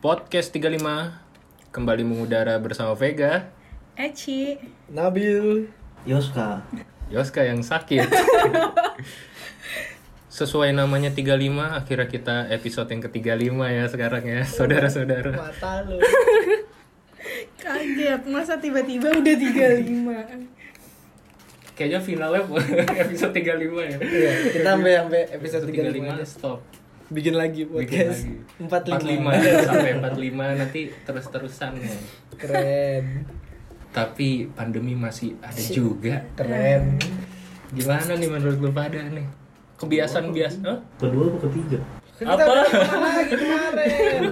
Podcast 35 kembali mengudara bersama Vega, Eci. Nabil Yoska Yoska yang sakit. Sesuai namanya 35, akhirnya kita episode yang ke-35 ya sekarang ya, saudara-saudara. mata lu Kaget, masa tiba-tiba udah 35. Kayaknya finalnya episode 35 ya. Iya, kita sampai sampai episode 35, 35 stop. bikin lagi Bikin podcast lagi. 45. 45 sampai 45 nanti terus-terusan ya. keren Tapi pandemi masih ada juga. keren Gimana nih menurut lu pada nih? Kebiasaan biasa? Hah? kedua atau ketiga Kan Apa? kita udah ngomong lagi kemarin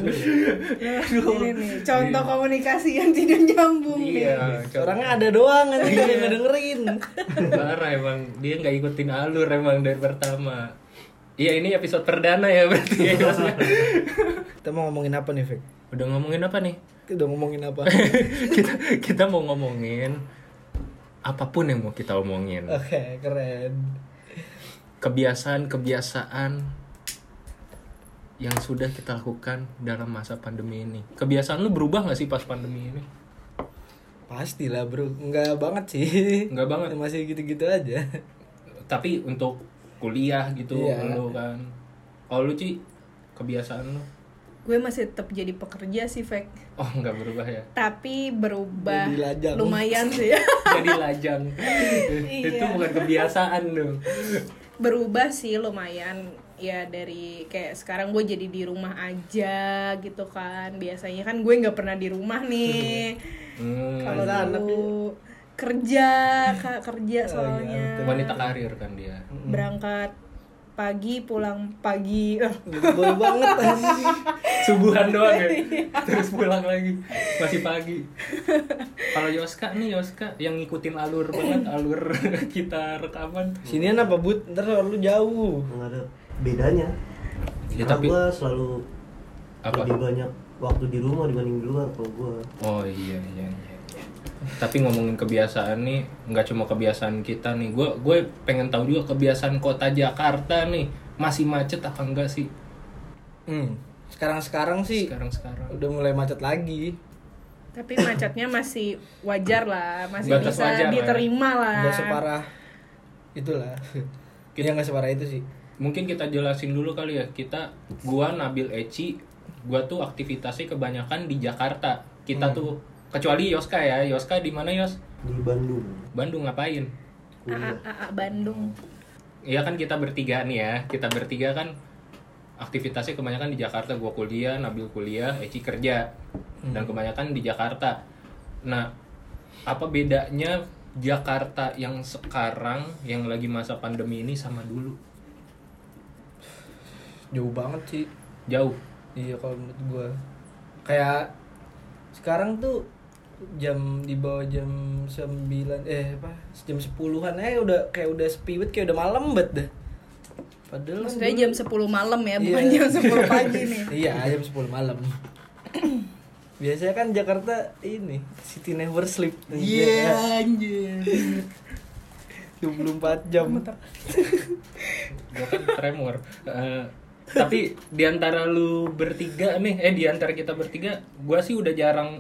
Ini nih, contoh Iya. komunikasi yang tidak nyambung nih. Iya, coba. orangnya ada doang kan dia nggak dengerin Parah emang dia nggak ikutin alur emang dari pertama. Iya ini episode perdana ya berarti. ya, Iya. maksudnya. kita mau ngomongin apa nih Vic? Udah ngomongin apa nih? Kita udah ngomongin apa kita kita mau ngomongin apapun yang mau kita omongin. oke keren Kebiasaan-kebiasaan yang sudah kita lakukan dalam masa pandemi ini. Kebiasaan lu berubah nggak sih pas pandemi ini? pastilah bro nggak banget sih Nggak banget. masih gitu-gitu aja Tapi untuk kuliah gitu Iya. lu kan. Kalau lu Ci, kebiasaan lu? Gue masih tetap jadi pekerja sih, Fek. Oh nggak berubah ya? Tapi berubah Jadi lajang. lumayan sih ya. jadi lajang itu bukan kebiasaan dong Berubah sih lumayan ya dari kayak sekarang gue jadi di rumah aja gitu kan. Biasanya kan gue nggak pernah di rumah nih. hmm, Kalau Masa anak dulu kerja, Kak, kerja Oh, iya, soalnya. wanita karir kan dia berangkat pagi pulang pagi Eh, boleh banget anjing. subuhan doang ya terus pulang lagi masih pagi kalau Yoska nih Yoska yang ngikutin alur banget alur kita rekaman sinian apa bud ntar suara lu jauh nggak ada bedanya Ya, Karena tapi- gua selalu Apa? lebih banyak waktu di rumah dibanding di luar kalau gua oh iya iya iya tapi ngomongin kebiasaan nih nggak cuma kebiasaan kita nih gue gue pengen tahu juga kebiasaan kota Jakarta nih masih macet apa enggak sih hmm. sekarang sekarang sih sekarang sekarang udah mulai macet lagi tapi macetnya masih wajar lah masih Batas bisa wajar lah ya. diterima lah nggak separah itulah kita nggak separah itu sih mungkin kita jelasin dulu kali ya kita gua Nabil Eci gua tuh aktivitasnya kebanyakan di Jakarta kita tuh kecuali Yoska ya Yoska di mana Yos di Bandung Bandung ngapain AA, AA ah, Bandung Iya kan kita bertiga nih ya kita bertiga kan aktivitasnya kebanyakan di Jakarta gua kuliah Nabil kuliah Eci kerja dan kebanyakan di Jakarta nah apa bedanya Jakarta yang sekarang yang lagi masa pandemi ini sama dulu jauh banget sih jauh iya kalau menurut gua kayak sekarang tuh jam di bawah jam 9 eh apa jam 10-an eh udah kayak udah sepi banget, kayak udah malam banget dah padahal kan maksudnya dulu- jam 10 malam ya bukan Iya. jam 10 pagi nih iya jam 10 malam biasanya kan Jakarta ini city never sleep iya anjir 24 jam gue kan tremor Eh, tapi diantara lu bertiga nih eh diantara kita bertiga gue sih udah jarang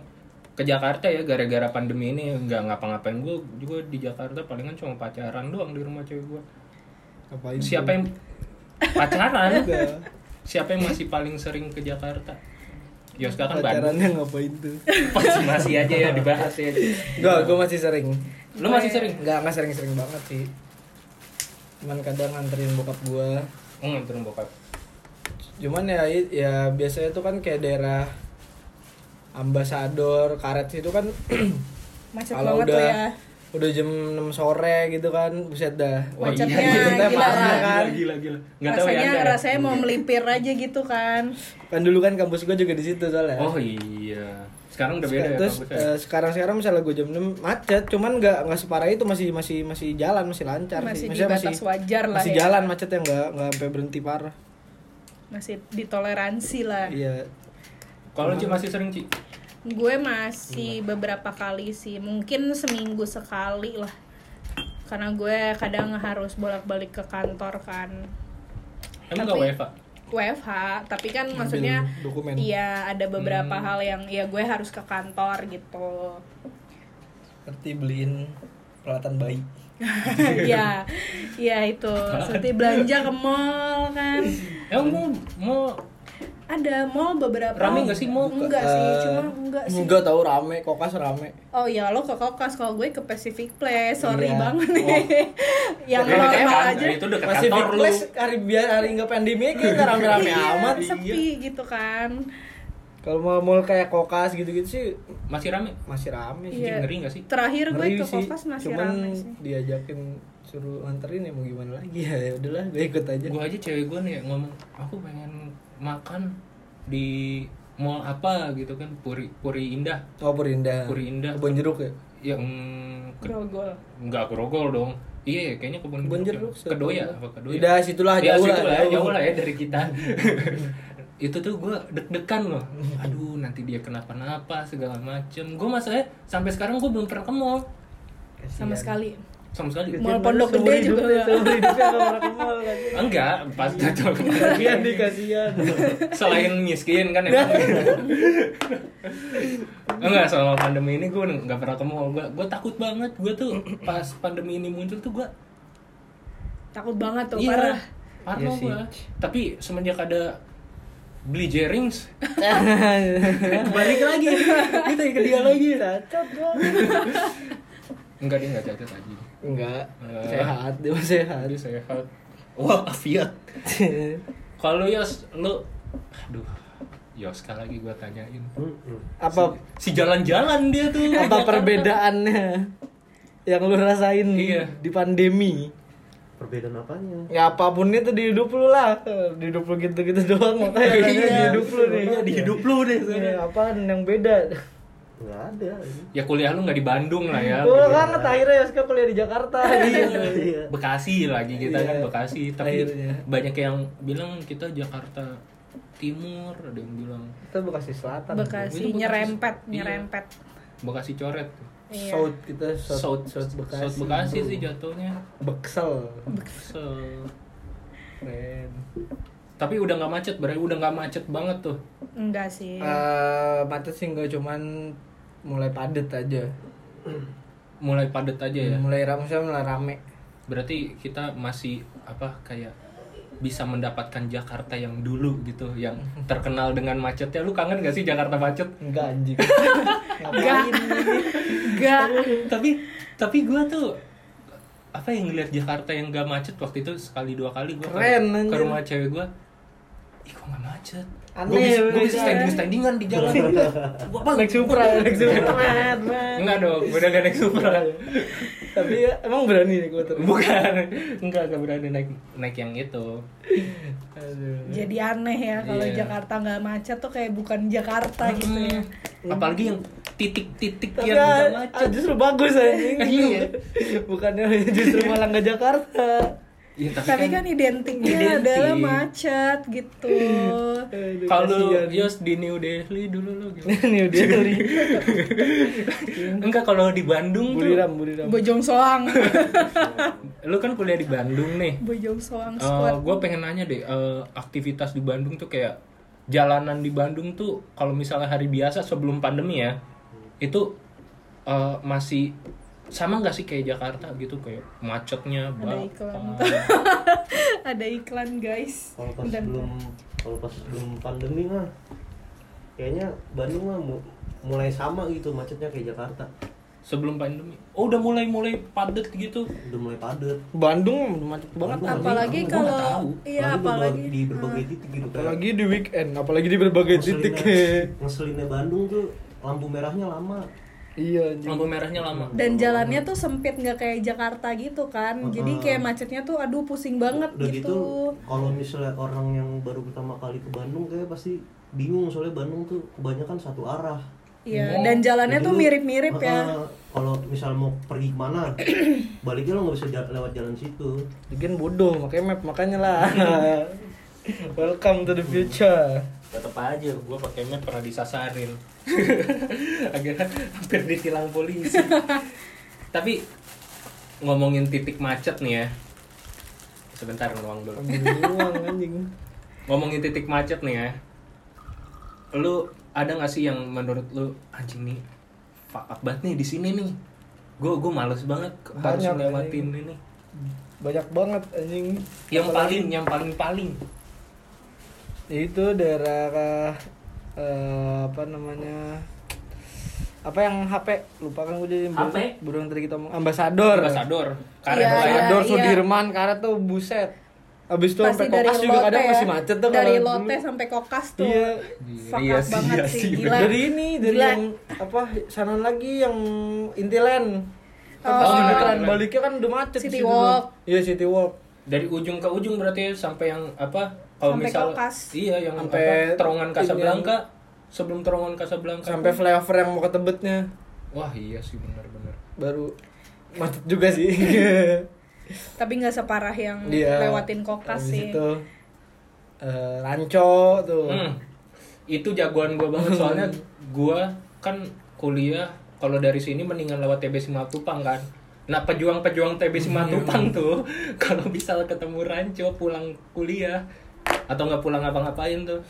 ke Jakarta ya gara-gara pandemi ini nggak ngapa-ngapain gue juga di Jakarta palingan cuma pacaran doang di rumah cewek gue Ngapain siapa yang pacaran siapa yang masih paling sering ke Jakarta Yoska kan Bandung pacarannya ngapain tuh masih masih aja ya dibahas ya Gak, gue masih sering lu masih sering Gak, gak sering-sering banget sih Cuman kadang nganterin bokap gue oh, nganterin bokap Cuman ya, i- ya biasanya tuh kan kayak daerah Ambasador, Karet situ kan macet Kalau banget tuh ya udah udah jam 6 sore gitu kan Buset dah Oh, iya, Macetnya Macetnya gila. parah kan gila gila nggak tahu ya rasanya Anda ya? rasanya mau melipir aja gitu kan Kan dulu kan kampus gue juga di situ soalnya oh iya sekarang udah beda ya terus kampusnya? eh, sekarang-sekarang misalnya gue jam 6 macet cuman nggak nggak separah itu masih masih masih jalan masih lancar Masih di Maksudnya batas wajar lah masih ya. jalan macet yang nggak nggak sampai berhenti parah masih ditoleransi lah iya Kalau Ci masih sering Ci? gue masih beberapa kali sih mungkin seminggu sekali lah karena gue kadang harus bolak-balik ke kantor kan Emang Tapi- gak WFA? WFH tapi kan maksudnya dokumen. iya ada beberapa Hmm. hal yang ya gue harus ke kantor gitu Ngerti beliin peralatan bayi. ya ya itu seperti belanja ke mall kan Ya mau mau ada mall beberapa Rame nggak sih mall? enggak sih Eh, cuma enggak sih Enggak tahu rame, kokas rame. Oh ya lo ke Kokas kalau gue ke Pacific Place, sorry Iya. banget nih. yang Ya, normal kayaknya kan, aja. Itu udah Masih kantor di lu. place hari biar hari nggak pandemi kayak nggak rame-rame Iya, amat. sepi gitu kan. Kalau mau mall kayak kokas gitu-gitu sih Masih rame. masih rame sih. Iya. ngeri nggak sih? Terakhir gue Ngeri ke sih. Kokas masih Cuman rame sih. diajakin suruh anterin ya mau gimana lagi ya ya udahlah gue ikut aja. Gue aja cewek gue nih ngomong, aku pengen makan di mall apa gitu kan Puri Puri Indah. Oh Purinda. Puri Indah. Kebon jeruk ya. Yang mm, ke- Grogol. nggak kerogol dong. Iya, kayaknya kebun Kebun jeruk. siapa Kedoya tahu. apa kedoya? Udah situlah Ya, jauh situ lah. ya, jauh lah ya dari kita. itu tuh gue deg-degan loh. Aduh, nanti dia kenapa-napa segala macem. Gue masalahnya sampai sekarang gue belum pernah ke mall Sama Iya. sekali. sama sekali. Mall Pondok Gede juga ya. Seumur hidupnya nggak pernah ke mall kan. Enggak, pas Iya. jatuh kemarin. Kasihan nih kasihan. Selain miskin kan emang. Enggak, selama pandemi ini gue nggak pernah ke mall. Gue gue takut banget. Gue tuh pas pandemi ini muncul tuh gue Takut banget tuh Iya, parah. Parno Iya sih. gua. Tapi semenjak ada beli jerings, Balik lagi. Kita ke dia lagi. Cocok enggak dia enggak cacat tadi. Enggak. Eh. Sehat, dia mah sehat. Tadi sehat. Wah, afiat. Kalau Yos, lu aduh. Yoska lagi gua tanyain. Ah. Mm-mm. Apa Si jalan-jalan dia tuh. apa perbedaannya yang lu rasain Iya. di pandemi? Perbedaan apanya? Ya apapun itu di hidup lu lah. Di hidup lu gitu-gitu doang Iya, makanya rasanya di hidup lu nih. Iya, di hidup lu deh. Iya, apaan yang beda? Nggak ada. ini. Ya kuliah lu nggak di Bandung lah ya. Gue banget akhirnya Yoska kuliah di Jakarta. Iya. Bekasi lagi kita kan Iya. Bekasi, tapi Akhirnya. banyak yang bilang kita Jakarta Timur, ada yang bilang Kita Bekasi Selatan. Itu Bekasi Bekasi. nyerempet, Iya. nyerempet. Bekasi coret. Iya. South kita South, South, South Bekasi. South Bekasi sih jatuhnya. Beksel. So, Keren. tapi udah nggak macet berarti udah nggak macet banget tuh Enggak sih. Eh, macet sih nggak cuman mulai padet aja. mulai padat aja ya Mulai ramai mulai rame. berarti kita masih apa kayak bisa mendapatkan Jakarta yang dulu gitu yang terkenal dengan macetnya lu kangen gak sih Jakarta macet Enggak anjing. Enggak. Ngapain? Enggak. tapi tapi gua tuh apa yang ngeliat Jakarta yang gak macet waktu itu sekali dua kali gua ke- Keren, ke, anjir. rumah cewek gua ih kok gak macet Aneh, gue bisa, gua beda. bisa standing standingan di jalan Gua apa? Naik Supra, naik Supra. Mat, mat. enggak dong gue udah gak naik Supra Tapi ya, emang berani nih gua tuh. bukan enggak gak berani naik naik yang itu Aduh. Jadi aneh ya kalau Iya. Jakarta nggak macet tuh kayak bukan Jakarta gitu ya. kan- Hmm. Apalagi yang titik-titik Tapi yang nggak ah, macet. justru bagus anjing. Iya. Bukannya justru malah ke Jakarta. Iya, Tapi kan identiknya Identik. adalah macet gitu. Aduh, kalau kasihan. Yos di New Delhi dulu lo gitu. Nih dia dari Enggak kalau di Bandung Buriram, Buriram. Bojong Soang. tuh. Lu kan kuliah di Bandung nih. Bojong Soang Eh, squad. gue pengen nanya deh eh, aktivitas di Bandung tuh kayak jalanan di Bandung tuh kalau misalnya hari biasa sebelum pandemi ya itu eh, masih sama nggak sih kayak Jakarta gitu kayak macetnya Ada bapak. iklan. Ada iklan guys. Kalau pas Dan- belum kalau pas belum pandemi mah kayaknya Bandung mah mu- mulai sama gitu macetnya kayak Jakarta. sebelum pandemi oh udah mulai mulai padet gitu Udah mulai padat. Bandung macet banget. Bandung. apalagi Gua nggak tahu. kalau iya apalagi Ah. di berbagai titik gitu kayak Apalagi di weekend, apalagi di berbagai titik. ngeselinnya- ngeselinnya Bandung tuh lampu merahnya lama. iya anjing. lampu merahnya lama dan jalannya tuh sempit nggak kayak Jakarta gitu kan. Jadi kayak macetnya tuh aduh pusing banget Udah gitu, gitu. kalau misalnya orang yang baru pertama kali ke Bandung kayak pasti bingung soalnya Bandung tuh kebanyakan satu arah. Iya, dan jalannya Jadi tuh lu, mirip-mirip ya. uh-uh, Kalau misal mau pergi kemana, baliknya lo nggak bisa jal- lewat jalan situ. Lagian bodoh, makanya map makanya lah. Welcome to the future. tetep aja gue pakainya pernah disasarin akhirnya hampir ditilang polisi tapi ngomongin titik macet nih ya sebentar ngomong dulu Ambil uang anjing. ngomongin titik macet nih ya lu ada nggak sih yang menurut lu anjing nih fuck up banget nih di sini nih gue gue males banget harus Banyak, lewatin ini banyak banget anjing yang Apalagi- paling yang paling paling itu daerah eh, apa namanya apa yang HP lupa kan gue jadi HP? burung tadi kita ngomong ambasador ambasador karet Iya, karet. ambasador iya. Sudirman karet tuh buset abis itu Pasti sampai dari kokas juga kadang Lotte masih ya. macet tuh Dari kalau dulu. Lotte sampai Kokas tuh. iya Fuck Iya up sih, banget iya sih, sih, gila. dari ini dari Gila. yang apa sana lagi yang Intiland Oh. Pas Intiland Intiland. baliknya kan udah macet City situ tuh. Walk. iya City Walk dari ujung ke ujung berarti sampai yang apa kalau Sampai misal Kaukas. iya yang Sampai apa, terowongan ini Casablanca sebelum terowongan Casablanca sampai flyover yang mau ke Tebetnya wah iya sih benar-benar baru macet juga sih Tapi nggak separah yang Iya. lewatin Kokas Habis sih. itu eh, ranco tuh Hmm. Itu jagoan gue banget soalnya gue kan kuliah kalau dari sini mendingan lewat TB Simatupang kan. Nah pejuang-pejuang TB Simatupang tuh kalau bisa ketemu Ranco pulang kuliah atau nggak pulang ngapa-ngapain tuh,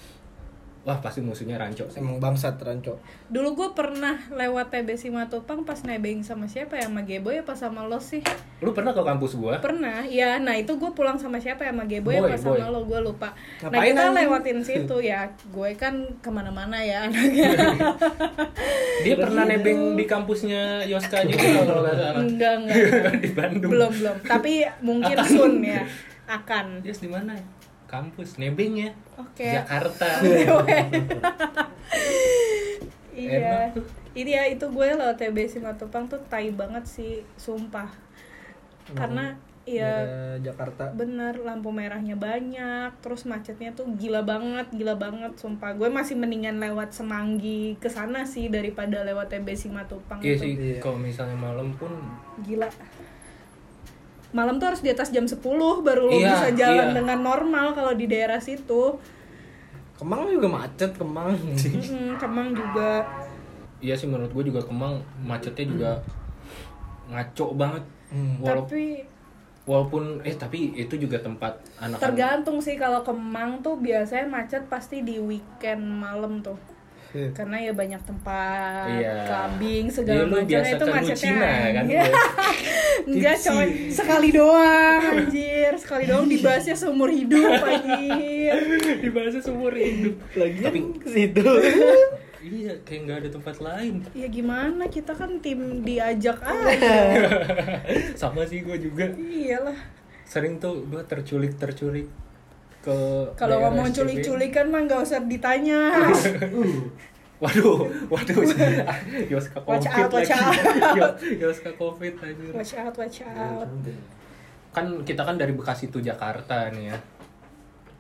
wah pasti musuhnya Ranco sih. emang bangsat ranco Dulu gue pernah lewat TB Simatupang pas nebeng sama siapa ya? Sama Gebo ya pas sama lo sih? Lu pernah ke kampus gue? Pernah, ya. Nah itu gue pulang sama siapa ya? Sama Gebo ya Boy, pas sama boy. lo? Gue lupa. nah Ngapain kita anjing? lewatin situ ya. Gue kan kemana-mana ya anaknya. Dia Iya. pernah nebeng di kampusnya Yoska juga kalau nggak salah. enggak, enggak. di Bandung. Iya, belum, belum. Tapi mungkin soon ya. Akan. Yes, di mana ya? Kampus nebeng ya. Oke. Jakarta. Iya. Enak tuh. Ini ya itu gue loh TB Simatupang tuh tai banget sih, sumpah. Hmm. Karena ya Daerah eh, Jakarta bener lampu merahnya banyak, terus macetnya tuh gila banget, gila banget sumpah. Gue masih mendingan lewat Semanggi ke sana sih daripada lewat TB Simatupang Iya itu. sih, Iya. kalau misalnya malam pun Gila. Malam tuh harus di atas jam 10 baru lo Iya, bisa jalan iya. dengan normal kalau di daerah situ. Kemang juga macet Kemang Mm-mm, Kemang juga. Iya sih menurut gue juga Kemang macetnya juga ngaco banget. Hmm. Walau- Tapi walaupun eh tapi itu juga tempat anak Tergantung sih kalau Kemang tuh biasanya macet pasti di weekend malam tuh. Karena ya banyak tempat Iya. kambing Iya, segala lu macam biasa itu ke macetnya. Lucina, kan, Iya. lu? Enggak coy, sekali doang anjir, sekali doang dibahasnya seumur hidup anjir. dibahasnya seumur hidup. lagi Tapi ke situ iya kayak nggak ada tempat lain. Ya gimana kita kan tim diajak aja. Sama sih gue juga Iyalah. sering tuh gue terculik terculik ke Kalau daerah ngomong SCB. culik-culikan mah nggak usah ditanya. Waduh, waduh. Yoska Watch Covid out, watch lagi. out. Yos- Yoska Covid anjir. watch out, watch out. kan kita kan dari Bekasi tuh Jakarta nih ya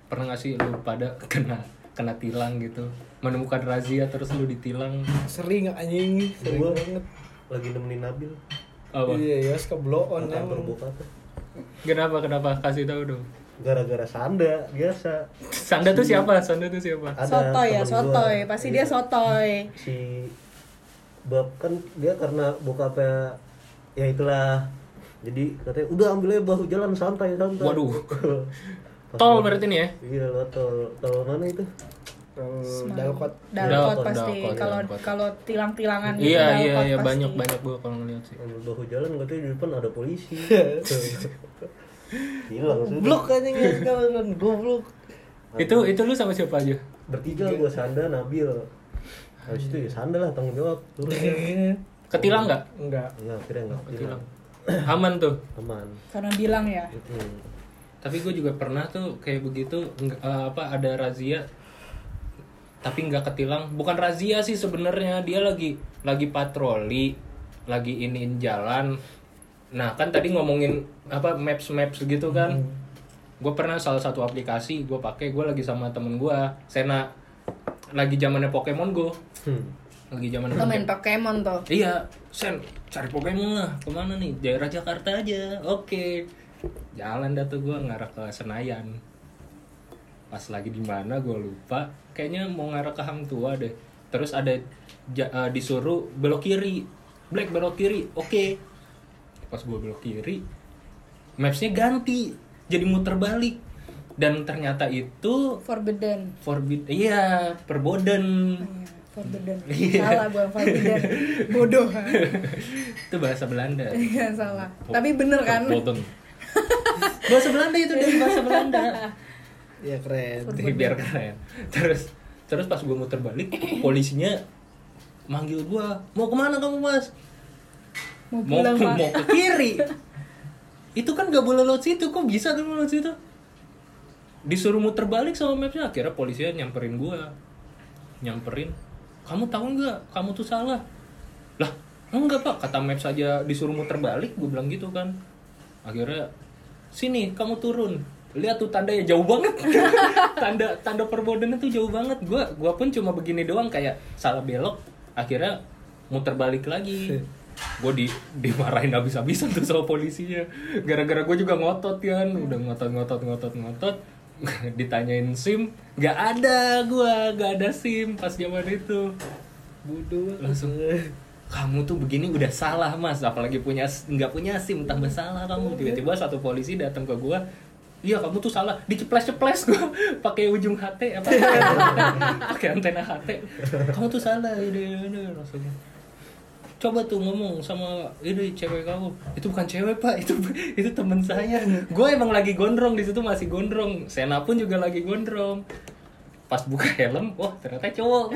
pernah nggak sih lu pada kena kena tilang gitu menemukan razia terus lu ditilang sering anjing sering Gua. banget lagi nemenin Nabil apa iya ya suka blow on ke kantor emang. bokapnya kenapa kenapa kasih tahu dong gara-gara sanda biasa Sanda tuh Iya. siapa Sanda tuh siapa ada Sotoy ya, temen gua. sotoy. Pasti dia Iya. sotoy. si bab kan dia karena bokapnya ya itulah jadi katanya udah ambil aja bahu jalan santai santai Waduh. Pas tol gua- berarti nih ya iya lo tol tol mana itu Kalau Semang- dalkot Dalkot Dalkot, pasti dalkot, kalau dalkot. kalau tilang-tilangan ya, gitu iya dalkot iya iya pasti. banyak banyak gua kalau ngeliat sih ambil bahu jalan katanya di depan ada polisi Iya. hilang sudah. blok anjing ya sekarang goblok itu itu lu sama siapa aja bertiga gua sanda Nabil habis itu ya sanda lah tanggung jawab turun Iya. ya ketilang nggak Iya, enggak Nggak, akhirnya nggak hilang ketilang Iya. aman tuh aman Karena bilang ya. Mm. tapi gue juga pernah tuh kayak begitu nggak- eh, apa ada razia tapi nggak ketilang bukan razia sih sebenarnya dia lagi lagi patroli lagi iniin jalan nah kan tadi ngomongin apa maps maps gitu kan gue pernah salah satu aplikasi gue pakai gue lagi sama temen gue Sena lagi zamannya Pokemon Go Hmm. lagi zaman Lo main Pokemon tuh. Iya, Sen, cari Pokemon lah. Kemana nih? Daerah Jakarta aja. Oke. Jalan dah tuh gue ngarah ke Senayan. Pas lagi di mana gue lupa. Kayaknya mau ngarah ke Hang Tua deh. Terus ada ja- eh, disuruh belok kiri. Black belok kiri. Oke. Pas gue belok kiri, mapsnya ganti. Jadi muter balik. dan ternyata itu forbidden forbid iya perboden Iya, forbidden Iya. salah bukan forbidden bodoh kan itu bahasa Belanda Iya, salah tapi bener kan Verboden. bahasa Belanda itu dari bahasa Belanda ya keren Jadi biar keren terus terus pas gue muter balik polisinya manggil gue mau kemana kamu mas mau mau pulang ke, pak mau ke kiri itu kan gak boleh lewat situ kok bisa kamu lewat situ disuruh muter balik sama mapsnya akhirnya polisinya nyamperin gua nyamperin kamu tahu nggak kamu tuh salah lah enggak pak kata maps saja disuruh muter balik gue bilang gitu kan akhirnya sini kamu turun lihat tuh tandanya jauh banget tanda tanda perbodennya tuh jauh banget gua gua pun cuma begini doang kayak salah belok akhirnya muter balik lagi gue di dimarahin habis-habisan tuh sama polisinya gara-gara gue juga ngotot kan udah ngotot ngotot ngotot ngotot ditanyain sim nggak ada gua nggak ada sim pas zaman itu bodoh langsung kamu tuh begini udah salah mas apalagi punya nggak punya sim tambah salah kamu tiba-tiba satu polisi datang ke gua iya kamu tuh salah diceples-ceples gua pakai ujung ht apa pakai antena ht kamu tuh salah ini ini langsung coba tuh ngomong sama ini cewek kamu itu bukan cewek pak itu itu temen saya gue emang lagi gondrong di situ masih gondrong Sena pun juga lagi gondrong pas buka helm wah ternyata cowok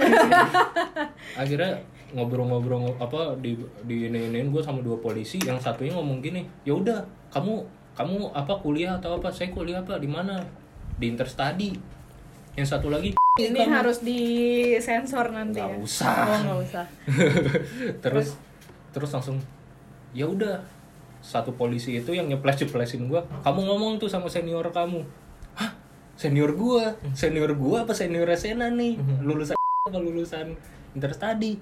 akhirnya ngobrol-ngobrol apa di di ini gue sama dua polisi yang satunya ngomong gini ya udah kamu kamu apa kuliah atau apa saya kuliah apa di mana di interstudy yang satu lagi Ini kamu." harus disensor nanti Nggak ya. usah. Oh, nggak usah. terus terus langsung ya udah satu polisi itu yang nyeples nyeplesin gua kamu ngomong tuh sama senior kamu hah senior gua senior gua apa senior Sena nih Mm-hmm. lulusan apa lulusan interstudy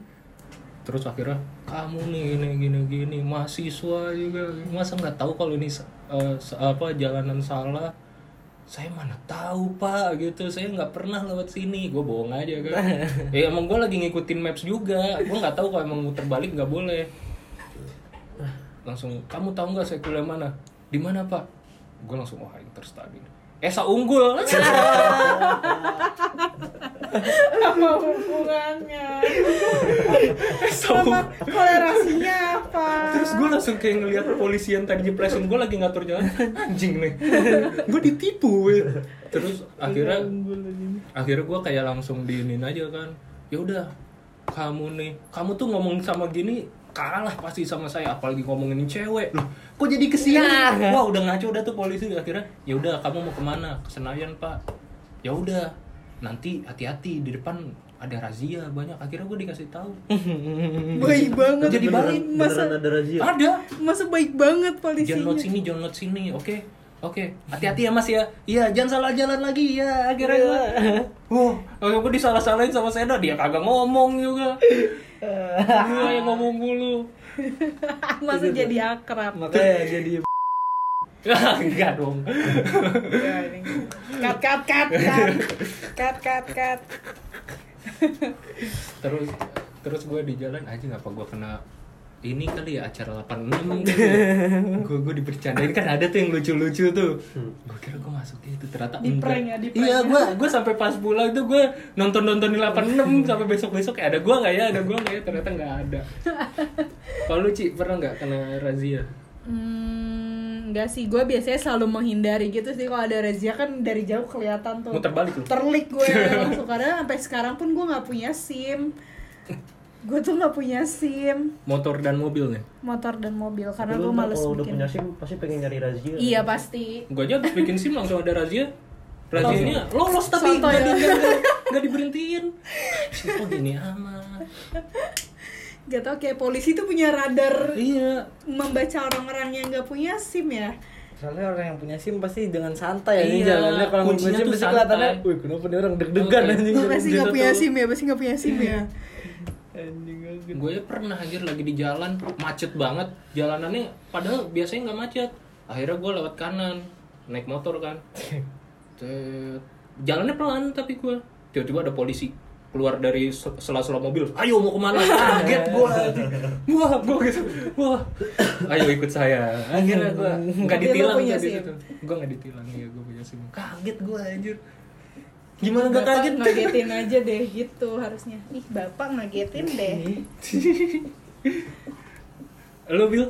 terus akhirnya kamu nih ini gini gini mahasiswa juga masa nggak tahu kalau ini eh, se- apa jalanan salah saya mana tahu pak gitu saya nggak pernah lewat sini gue bohong aja kan ya emang gue lagi ngikutin maps juga gue nggak tahu kalau emang muter balik nggak boleh langsung kamu tahu nggak saya kuliah mana di mana pak gue langsung wah interstudy Esa unggul Apa hubungannya? Esa Sama unggul kolerasinya apa? terus gue langsung kayak ngelihat polisi yang tadi jeplesin gue lagi ngatur jalan anjing nih gue ditipu weh. terus akhirnya akhirnya gue kayak langsung diinin aja kan ya udah kamu nih kamu tuh ngomong sama gini kalah pasti sama saya apalagi ngomongin cewek loh kok jadi kesini wah udah ngaco udah tuh polisi akhirnya ya udah kamu mau kemana ke Senayan pak ya udah nanti hati-hati di depan ada razia banyak akhirnya gue dikasih tahu Baik banget. Jadi beneran, balik, masa beneran ada razia ada masa baik banget jangan polisinya. lewat sini jangan lewat sini oke oke hati-hati ya mas ya iya jangan salah jalan lagi ya akhirnya gue wah akhirnya gue disalah-salahin sama Sena dia kagak ngomong juga gue yang ngomong mulu masa jadi akrab. makanya jadi Ah, enggak dong Cut cut cut cut. Cut cut cut. terus terus gue di jalan aja apa gue kena ini kali ya acara 86 gue gue Gitu. dipercandain kan ada tuh yang lucu-lucu tuh gue kira gue masuk itu ternyata Di enggak. prank ya, di prank iya ya. gue gue sampai pas pulang itu gue nonton nontonin 86 sampai besok besok ya ada gue nggak ya ada gue nggak ya ternyata nggak ada kalau lu Ci, pernah nggak kena razia Hmm, enggak sih, gue biasanya selalu menghindari gitu sih kalau ada razia kan dari jauh kelihatan tuh. muter balik lu terlik gue langsung karena sampai sekarang pun gue nggak punya sim gue tuh nggak punya sim motor dan mobilnya motor dan mobil karena Tapi gue lu ntar males kalau udah bikin punya sim ya? pasti pengen nyari razia iya pasti gue aja habis bikin sim langsung ada razia razianya lolos tapi Soto nggak ya. di- nggak- nggak diberhentiin siapa gini amat gak tau kayak polisi tuh punya radar Iya. membaca orang-orang yang nggak punya sim ya soalnya orang yang punya sim pasti dengan Iya, santai aja jalannya kalau nggak kuncinya tuh punya sim pasti santai. kelihatannya wih kenapa dia orang deg-degan Oke. anjing lu jalan pasti gitu nggak punya tuh. sim ya pasti nggak punya sim ya anjing gue Gue ya pernah anjir lagi di jalan macet banget jalanannya padahal biasanya nggak macet. Akhirnya gue lewat kanan naik motor kan. Tet. Jalannya pelan tapi gue tiba-tiba ada polisi keluar dari se- sela-sela mobil ayo mau kemana kaget gua wah gua gitu wah ayo ikut saya akhirnya gua nggak Tapi lu ditilang punya tadi SIM. itu gua nggak ditilang ya gua punya sim kaget gua anjir gimana nggak Bapak kaget Ngagetin aja deh gitu harusnya. Ih, Bapak ngagetin deh. lo bil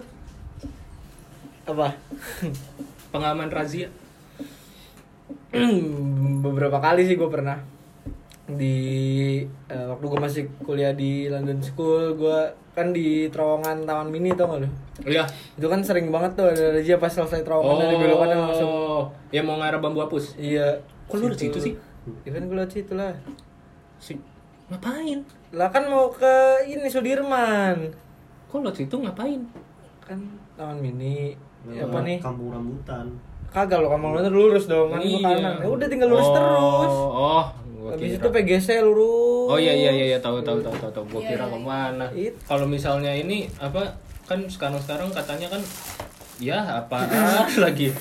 apa pengalaman razia Hmm, beberapa kali sih gue pernah di eh, waktu gue masih kuliah di London School gue kan di terowongan Taman Mini tau gak lu iya itu kan sering banget tuh ada razia pas selesai terowongan dari Oh. belokan langsung ya mau ngarah bambu hapus iya Kok lu di situ sih? ya kan gue liat situ lah si ngapain lah kan mau ke ini Sudirman kok lo situ ngapain kan Taman Mini Iya, Ya apa Eh, nih Kampung rambutan. kagak lo kamu bener lurus dong kan gua Iya. kanan ya udah tinggal lurus Oh, terus oh gua habis kira. itu PGC lurus Oh iya iya iya iya, tahu tahu tahu tahu tahu. Gua kira kemana? It- Kalau misalnya ini apa kan sekarang sekarang katanya kan ya apa lagi?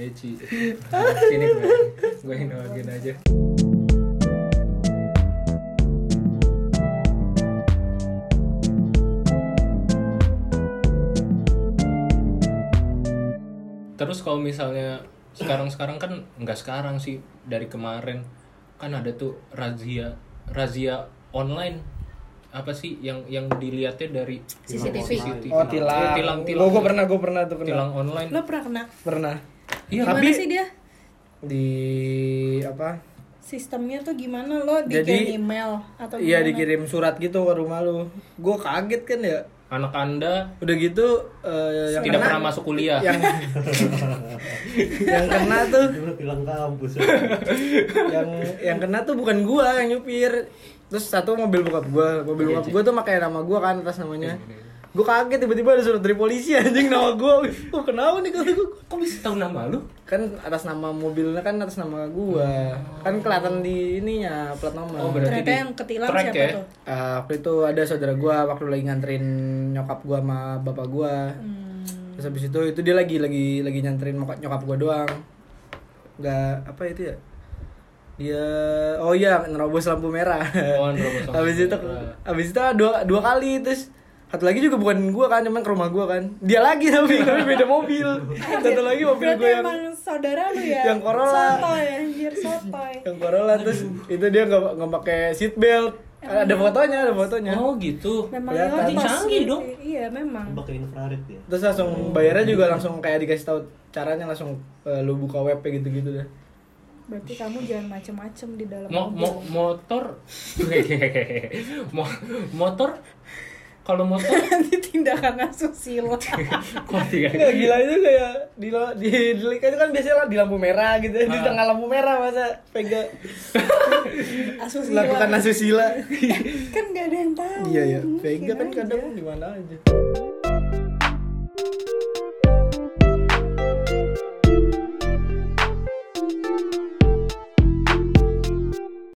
Eci, sini gue, gue inovin aja. Terus kalau misalnya sekarang-sekarang kan nggak sekarang sih dari kemarin kan ada tuh razia razia online apa sih yang yang dilihatnya dari CCTV. oh tilang Eh, tilang tilang gue pernah gue pernah tuh pernah tilang online Lo pernah kena? pernah iya Gimana Tapi- sih dia? di apa Sistemnya tuh gimana lo Jadi- dikirim email atau iya gimana? dikirim surat gitu ke rumah lu gue kaget kan ya anak anda udah gitu eh, yang tidak kena- pernah masuk kuliah yang yang kena tuh Itu udah bilang kampus. ya. yang yang kena tuh bukan gua yang nyupir terus satu mobil bokap gua Iya, mobil bokap gua tuh pakai nama gua kan atas namanya gua kaget tiba-tiba ada surat dari polisi anjing nama gua oh kenapa nih kata gua kok bisa tahu nama lu kan atas nama mobilnya kan atas nama gua kan kelihatan di ininya plat nomor Hmm. Oh, berarti Ternyata di yang ketilang track siapa ya? tuh? Ah, waktu itu ada saudara gua waktu lagi nganterin nyokap gua sama bapak gua Hmm. terus habis itu itu dia lagi lagi lagi nyanterin moka- nyokap gua doang nggak apa itu ya dia oh iya nerobos lampu merah Oh, nerobos lampu habis itu merah. habis itu ah, dua dua kali terus satu lagi juga bukan gua kan cuman ke rumah gua kan dia lagi tapi tapi beda mobil satu lagi mobil Berarti gua yang emang saudara lu ya? Yang Corolla. Sotoy, anjir, sotoy. yang Corolla terus itu dia nggak nggak pakai seat belt ada fotonya ada fotonya oh gitu Memang Kelihatan. lewat pas Canggih gitu. dong. Iya, memang. Pakai infrared ya. terus langsung bayarnya juga langsung kayak dikasih tahu caranya langsung eh, lu buka web gitu gitu deh Berarti kamu jangan macem-macem di dalam Mo- mobil. mo- motor Mo- motor kalau motor Nanti tindakan asusila. kok tiga Nggak gila itu kayak di lo- di, di itu kan biasanya lah di lampu merah gitu ya, di Ah. tengah lampu merah masa Iya. pegang asusila. lakukan asusila Kan gak ada yang tahu. iya ya Mungkin pegang kan aja. kadang di mana aja